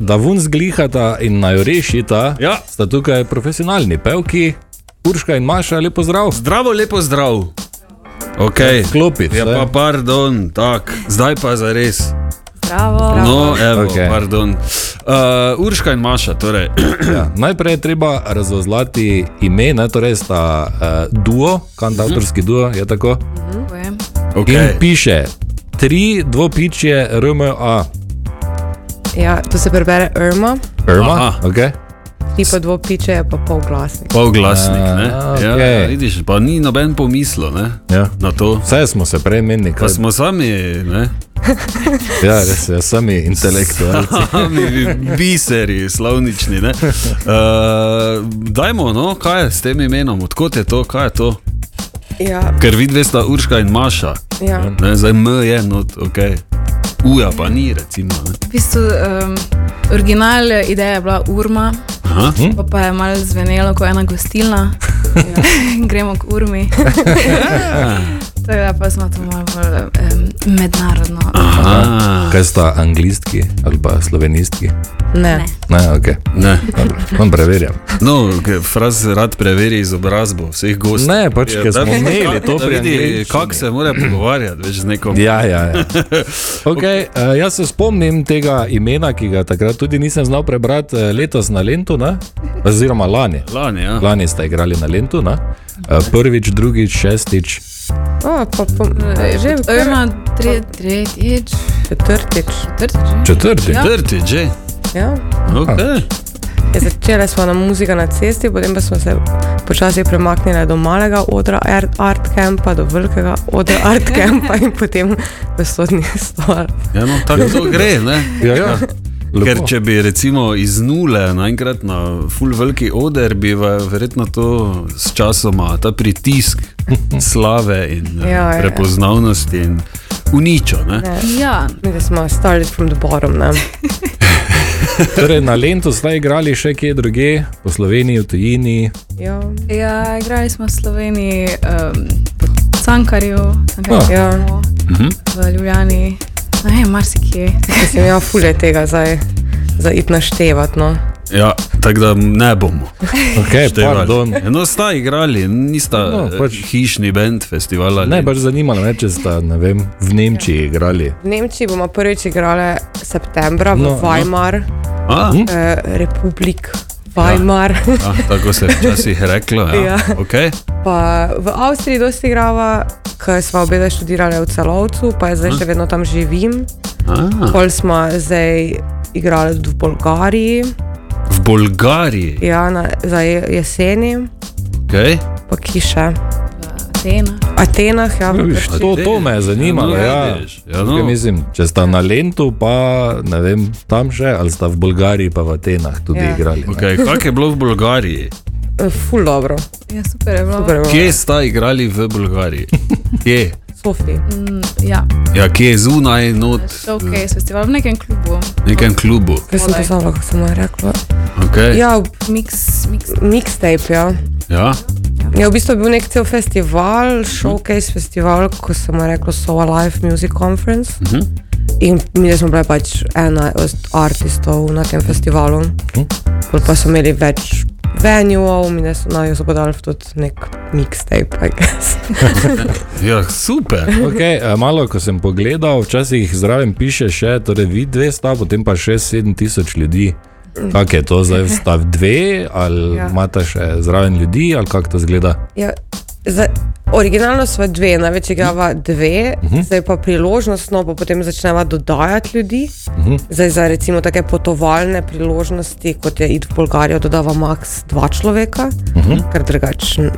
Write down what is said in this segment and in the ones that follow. da vun zglihata in naj jo rešita, Ja. sta tukaj profesionalni pevki, Urška in Maša, lepo zdrav. Zdravo, lepo zdrav. Okay. Klopi. Ja, pa pardon, tak. zdaj pa za res. Zdravo. No, evo, Okej. okay. pardon. Uh, Urška in Maša, torej. Ja, najprej je treba razvozlati ime, ne, torej sta uh, duo, kantautorski duo, je tako. Okay. In Okay. piše tri dvopičje RMA. Ja, to se prebere Irma, Irma, Aha. okay. ti pa dvo piče, je pa polglasnik. Polglasnik, ne? A, Ja, okej. ja, vidiš, pa ni noben pomislo ne? ja. na to. Vse smo se prej menili, Pa kaj smo. smo sami, ne? Ja, res je, sami intelektualci. Sami biseri, slovnični. Ne? Uh, dajmo, no, kaj je s tem imenom, odkot je to, kaj je to? Ja, Ker vidve sta Urška in Maša, ja. ne? zdaj M je not, ok. Uja pa ni, recimo. Ne? V bistvu, um, originalna ideja je bila urma, Aha. pa, pa je malo zvenelo kot ena gostilna. Ja, Gremo k urmi. Tako da pa smo to malo bolj um, mednarodno. Aha. Kaj sta anglistki ali pa slovenistki? Ne. Ne, ok. Ne. Dobro, vam preverjam. No, ke Fraz rad preveri izobrazbo vseh gostov. Ne, pač, ker smo imeli to Ja, da pri vidi, angleščini. kako se mora pogovarjati več z nekom. Ja, ja, ja. Okay, uh, jaz se spomnim tega imena, ki ga takrat tudi nisem znal prebrati, eh, letos na Lendu, ne? oziroma lani. Lani, ja. Lani ste igrali na Lendu, ne? Eh, prvič, drugič, šestič, O, pa, pa, že Irma. Urma, tre, tretjič, Četrtič. četrtič. četrti. Ja. Trti, že. Ja. Okay. Ja, začele smo na muzika na cesti, potem pa smo se počasi premaknili do malega odra Ar- art campa, do velikega odra art campa in potem v sodni stol. Ja, no, tako to gre, ne? Ja, ja. Lepo. Ker če bi recimo iz nule naenkrat na full veliki oder, bi ve- verjetno to s časoma, ta pritisk slave in eh, Ja, ja, ja. prepoznavnosti in uničil. Ne? Ja, Mi da smo started from the bottom, ne? Torej, na Lendu ste igrali še kje druge, po Sloveniji, v tujini. Ja. ja, igrali smo v Sloveniji, um, v Cankarju, Cankarju Ja. smo, Mhm. v Ljubljani, ne, marsikje. Mislim, ja, fulje tega zdaj za it naštevati, no. Ja, tako da ne bomo. Okay, E, pardon. števali. No, sta igrali, nista No, no, pač- pač... hišni bend festivala. Ne, pač zanimalo me, če ste ne vem, v Nemčiji igrali. V Nemčiji bomo prvič igrali septembra v No, no, no. Weimar, no. A, Hm? eh, Republik Weimar, ja. a, tako se je včasih reklo. Ja. Ja. Ja. Okay. pa v Avstriji dosti igrava, ker smo obe dve študirali v celovcu, pa jaz zdaj še vedno tam živim. A, Pol smo zdaj igrali tudi v Bolgariji, v Bolgariji. ja, na, za je- jeseni, Okay. pa kiše. Atena. Atenah, ja, v Viš, Grčiji. to, to me je zanimalo. Ja, no, Ja, vidiš, ja, Tukaj no. Mislim, če sta na Lendu, pa ne vem, tam še, ali sta v Bolgariji, pa v Atenah tudi ja. Ja. igrali. ne? Okay, Kako je bilo v Bolgariji? Eh, ful dobro. Ja, super je bilo. Super, je bilo. Kje sta igrali v Bolgariji? Kje? Sofiji. Mm, ja, Ja, kje je zunaj, not v Ja, showcase festival v nekem klubu. nekem klubu. Kaj sem Olej. pozvala, kako sem naj rekla? Okay. Ja, v- Mix, mix. mixtape, ja. Ja. Ja, v bistvu je bil nek cel festival, showcase festival, ko se mu je reklo So Alive Music Conference. Uh -huh. In mi smo bili pač ena od artistov na tem festivalu. Mhm. Pol pa so imeli več venuev, mi smo na jo podali tudi nek mixtape, I guess. ja, super. Okay, eh, malo, ko sem pogledal, včasih zraven piše še, torej vi dve sta, potem pa 6-7 tisoč ljudi. Kako je to zdaj, sta v dve, ali ja. Ja. imate še zraven ljudi, ali kako to zgleda? Ja, za, originalno smo dve, največ igrava dve, uh -huh. zdaj pa priložnostno, pa potem začneva dodajati ljudi. Uh Mhm. -huh. Zdaj za recimo take potovalne priložnosti, kot je id v Bolgarijo, dodava maks dva človeka, uh -huh. ker drugačne.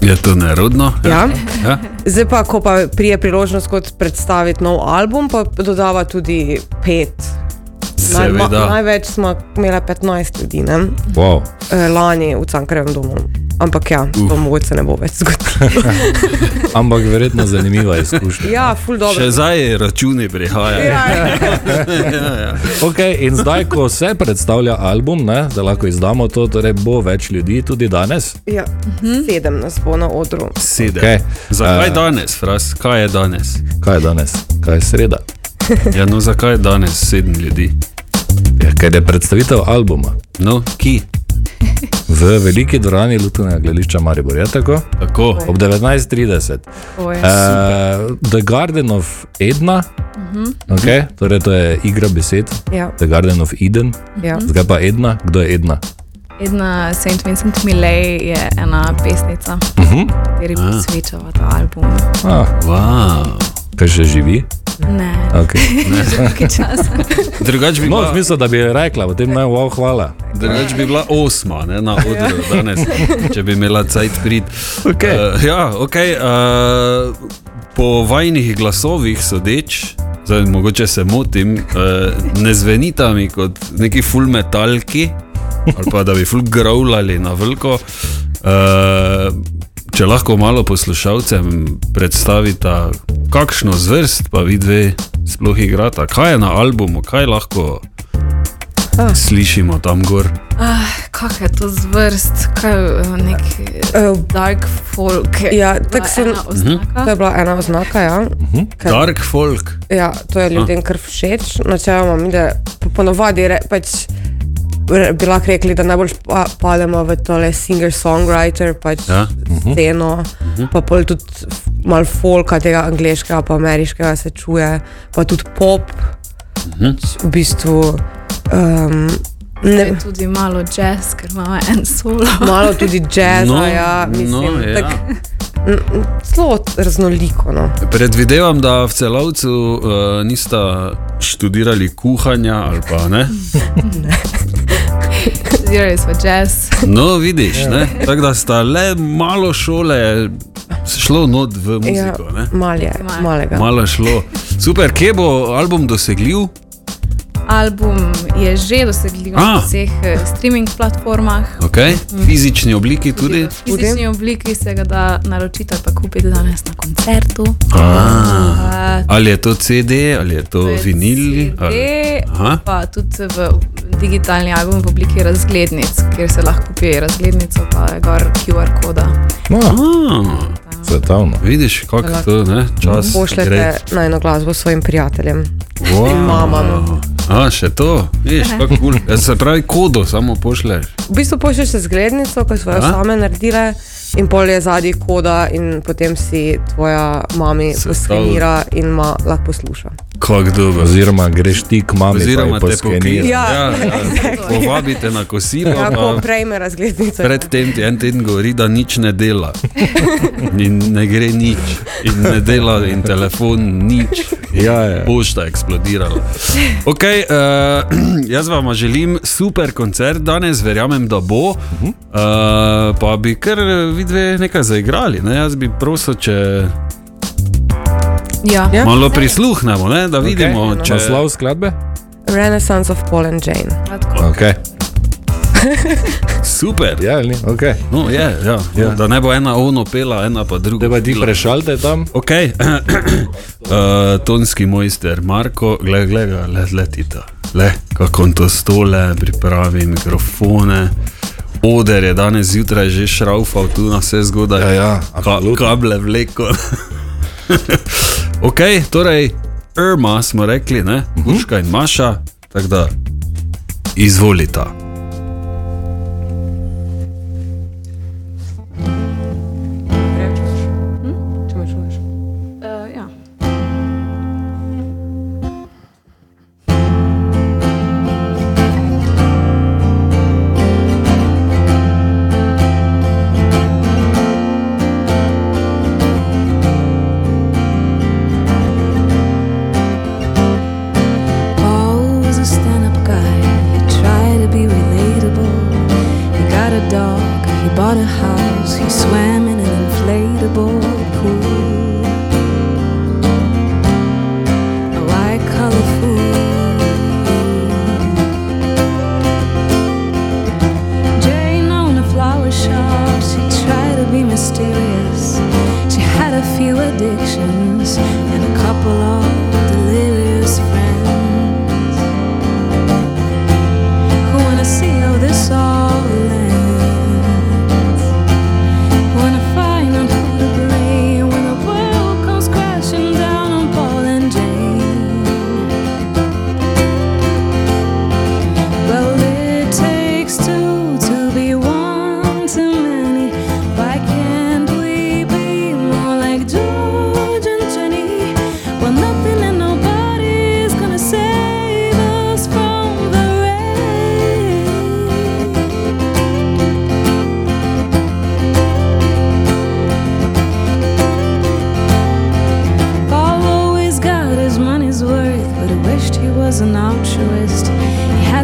Je to nerodno? Ja. ja. Zdaj pa, ko pa prije priložnost kot predstaviti nov album, pa dodava tudi pet. Najma, Seveda. največ smo imeli 15 ljudi, ne? Wow. Eh, lani v Cankarevem domu. Ampak ja, uh. to mogoče ne bo več zgodilo. Ampak verjetno zanimiva izkušnja. Ja, ful dobro. Še zdaj računi Ja. prihajajo. Ja, Okay, in zdaj, ko se predstavlja album, ne, da lahko izdamo to, torej bo več ljudi tudi danes. Ja, Mhm. sedem nas bo na odru. Sedem. Okej. Okay. Zakaj Eh. uh, danes, Fras? Kaj je danes? Kaj je danes? Kaj je sreda? Ja, no, zakaj je danes sedem ljudi? Ja, ker je predstavitev albuma No, ki? v veliki dvorani Lutovnega gledališča Maribor, je tako? Tako. Ob 19.30. Oje. Uh, The Garden of Edna, okay, torej to je igra besed, Ja, The Garden of Eden, ja. Mhm. zdaj pa Edna, kdo je Edna? Edna St. eh, Vincent Millay je ena pesnica, Uh -huh. kateri posvečava ta album. ah, Wow. kaj še živi? Ne, Okay. nekaj časa. Drugač bi, No, v bila- smislu, da bi rekla, potem naj wow, hvala. drugač bi bila osma ne, na odru Ja. danes, če bi imela cajt prid. Okay. Uh, ja, okay, uh, po vajnih glasovih sodeč, zdaj mogoče se motim, uh, ne zvenita mi kot neki full metalki ali pa da bi full growlali na veliko. Uh, če lahko malo poslušalcem predstavita, kakšno zvrst pa vi dve sploh igrata, kaj je na albumu, kaj lahko. Ah. Slišimo tam gor. Ah, kak je to zvrst, kaj eh, nek Eh, dark folk. je Ja, bila tako sem- ena oznaka. To je bila ena oznaka, ja. Ker- Dark folk. Ja, to Ah. je ljudem kar všeč. Načeloma, mi da po- ponavadi re, pač re, bi lahko rekli, da najbolj pa, pademo v tole singer-songwriter, pač Ja. Mhm. ja. Eh, mhm. sceno, uh -huh. pa pol tudi f- malo folka tega angliškega, pa ameriškega se čuje, pa tudi pop. Uh Mhm. -huh. V bistvu um, ne, Je tudi malo jazz, ker imamo en solo. malo tudi jazz, no, ja, mislim, no, ja. tak, zelo raznoliko. No. Predvidevam, da v celovcu uh, nista študirali kuhanja ali pa ne. Studirali smo jazz. No, vidiš, ne? tako da sta le malo šole šlo not v Ja, muziko. Ne? mal je, Malo. malega. Malo je šlo. Super, kje bo album dosegljiv? Album je že dosegljiv Ah. na vseh eh, streaming platformah. Okay. Fizični obliki tudi. V fizični obliki se ga da naročiti ali pa kupiti danes na koncertu. Ah, Ah, ali je to CD, ali je to vinil? Ali... CD, Aha. pa tudi v digitalni album v obliki razglednic, kjer se lahko kupi razglednico, pa je gor QR koda. No, Ah, svetovno. vidiš, kako je to, ne? čas. Pošljete gre. najno glasbo svojim prijateljem. Wow. mamam. A, še to, veš, kako kul. Ja, Se pravi, kodo samo pošleš. V bistvu pošlješ se zglednico, ki so jo Ja. same naredile, in pol je zadnji koda, in potem si tvoja mama Sestavlja. poskenira in ma lahko posluša. Kako dobro. Oziroma, greš ti k mami, Oziroma, te poskeniraš. pokrijete. Ja, povabite na kosilo. Tako Ja, pa prejme razglednico. Predtem ti en teden govori, da nič ne dela. In ne gre nič, in ne dela, in telefon nič. Ja, ja. Pošta je eksplodirala. Okay, uh, jaz vam želim super koncert danes, verjamem, da bo. Uh, Mhm. pa bi kar vidve nekaj zaigrali. Ne? Jaz bi prosil, če Ja. Ja. malo prisluhnemo, ne? da vidimo, okay. Če če naslov skladbe? Renaissance of Paul and Jane. Tako. Okay. super. Ja, ali ni? Okay. No, je, ja. Ja. Da ne bo ena ono pela, ena pa druga. Te pa ti pela. prešalte tam? Ok, uh, tonski mojster Marko, gled, gled, gled, letita. Le, kako on to stole, pripravi mikrofone. Oder je danes zjutraj že šraufal tu na vse zgodaj. Ja, ja, Ka absolutno. kable vleko. ok, torej Irma smo rekli, ne? Mhm. Urška in Maša, tako da izvolita. Hm? Če me čuješ. Uh, ja. Always a stand up guy. You try to be relatable. He got a dog, he bought a house, he swam in an inflatable pool. A white collar fool. Jane owned a flower shop. She tried to be mysterious. She had a few addictions and a couple of delirious friends who wanna see how this all ends. Wanna find out who to blame when the world comes crashing down on Paul and Jane.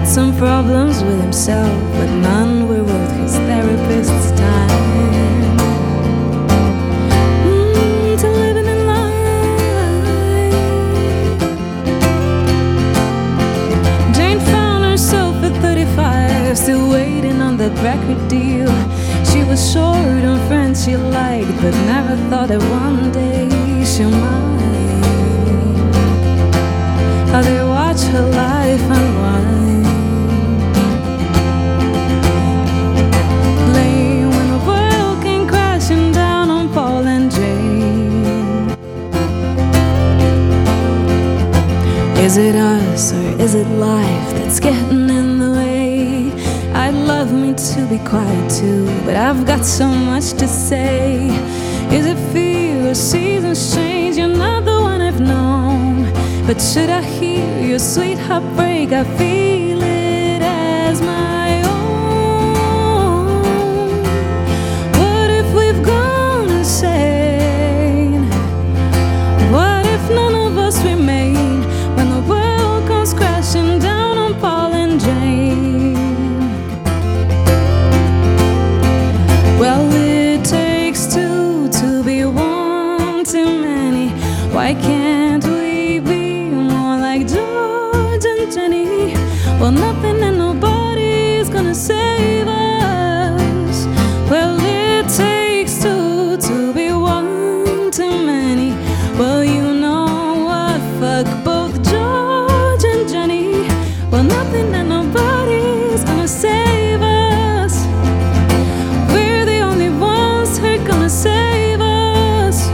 some problems with himself, but none were worth his therapist's time. Mm, to living in life. Jane found herself at 35, still waiting on that record deal. She was short on friends she liked, but never thought that one day she might. How they watch her life unwind. Late when the world came crashing down on Paul and Jane. Is it us or is it life that's getting in the way? I'd love me to be quiet too, but I've got so much to say. Is it fear or seasons change? You're not the one I've known. But should I hear your sweet heartbreak? I feel it as my own. What if we've gone insane? What if none of us remain when the world comes crashing down on Paul and Jane? Well, it takes two to be one too many. Why can't we be more like George and Jenny? Well, nothing and nobody's gonna save us. Well, it takes two to be one too many. Well, you know what? Fuck both George and Jenny. Well, nothing and nobody's gonna save us. We're the only ones who are gonna save us.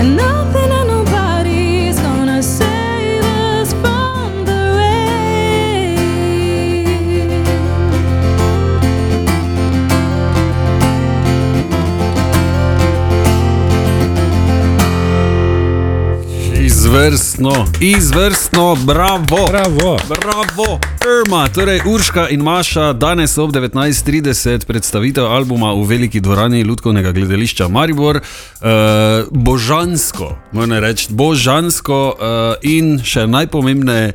And nothing and nobody's gonna save us from the rain. Izvrstno, izvrstno, bravo. Bravo. Bravo, Irma, torej Urška in Maša, danes ob 19:30 predstavitev albuma v veliki dvorani Ludkovnega gledališča Maribor. Uh, božansko, moram reči, božansko uh, in še najpomembneje,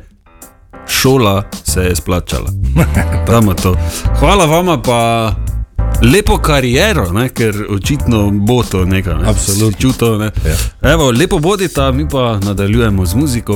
šola se je splačala. Damo to. Hvala vama pa. Lepo kariero, ne, ker očitno bo to nekaj. Ne. Absolutno. Čuto, ne. Ja. Evo, lepo bodite, mi pa nadaljujemo z muziko.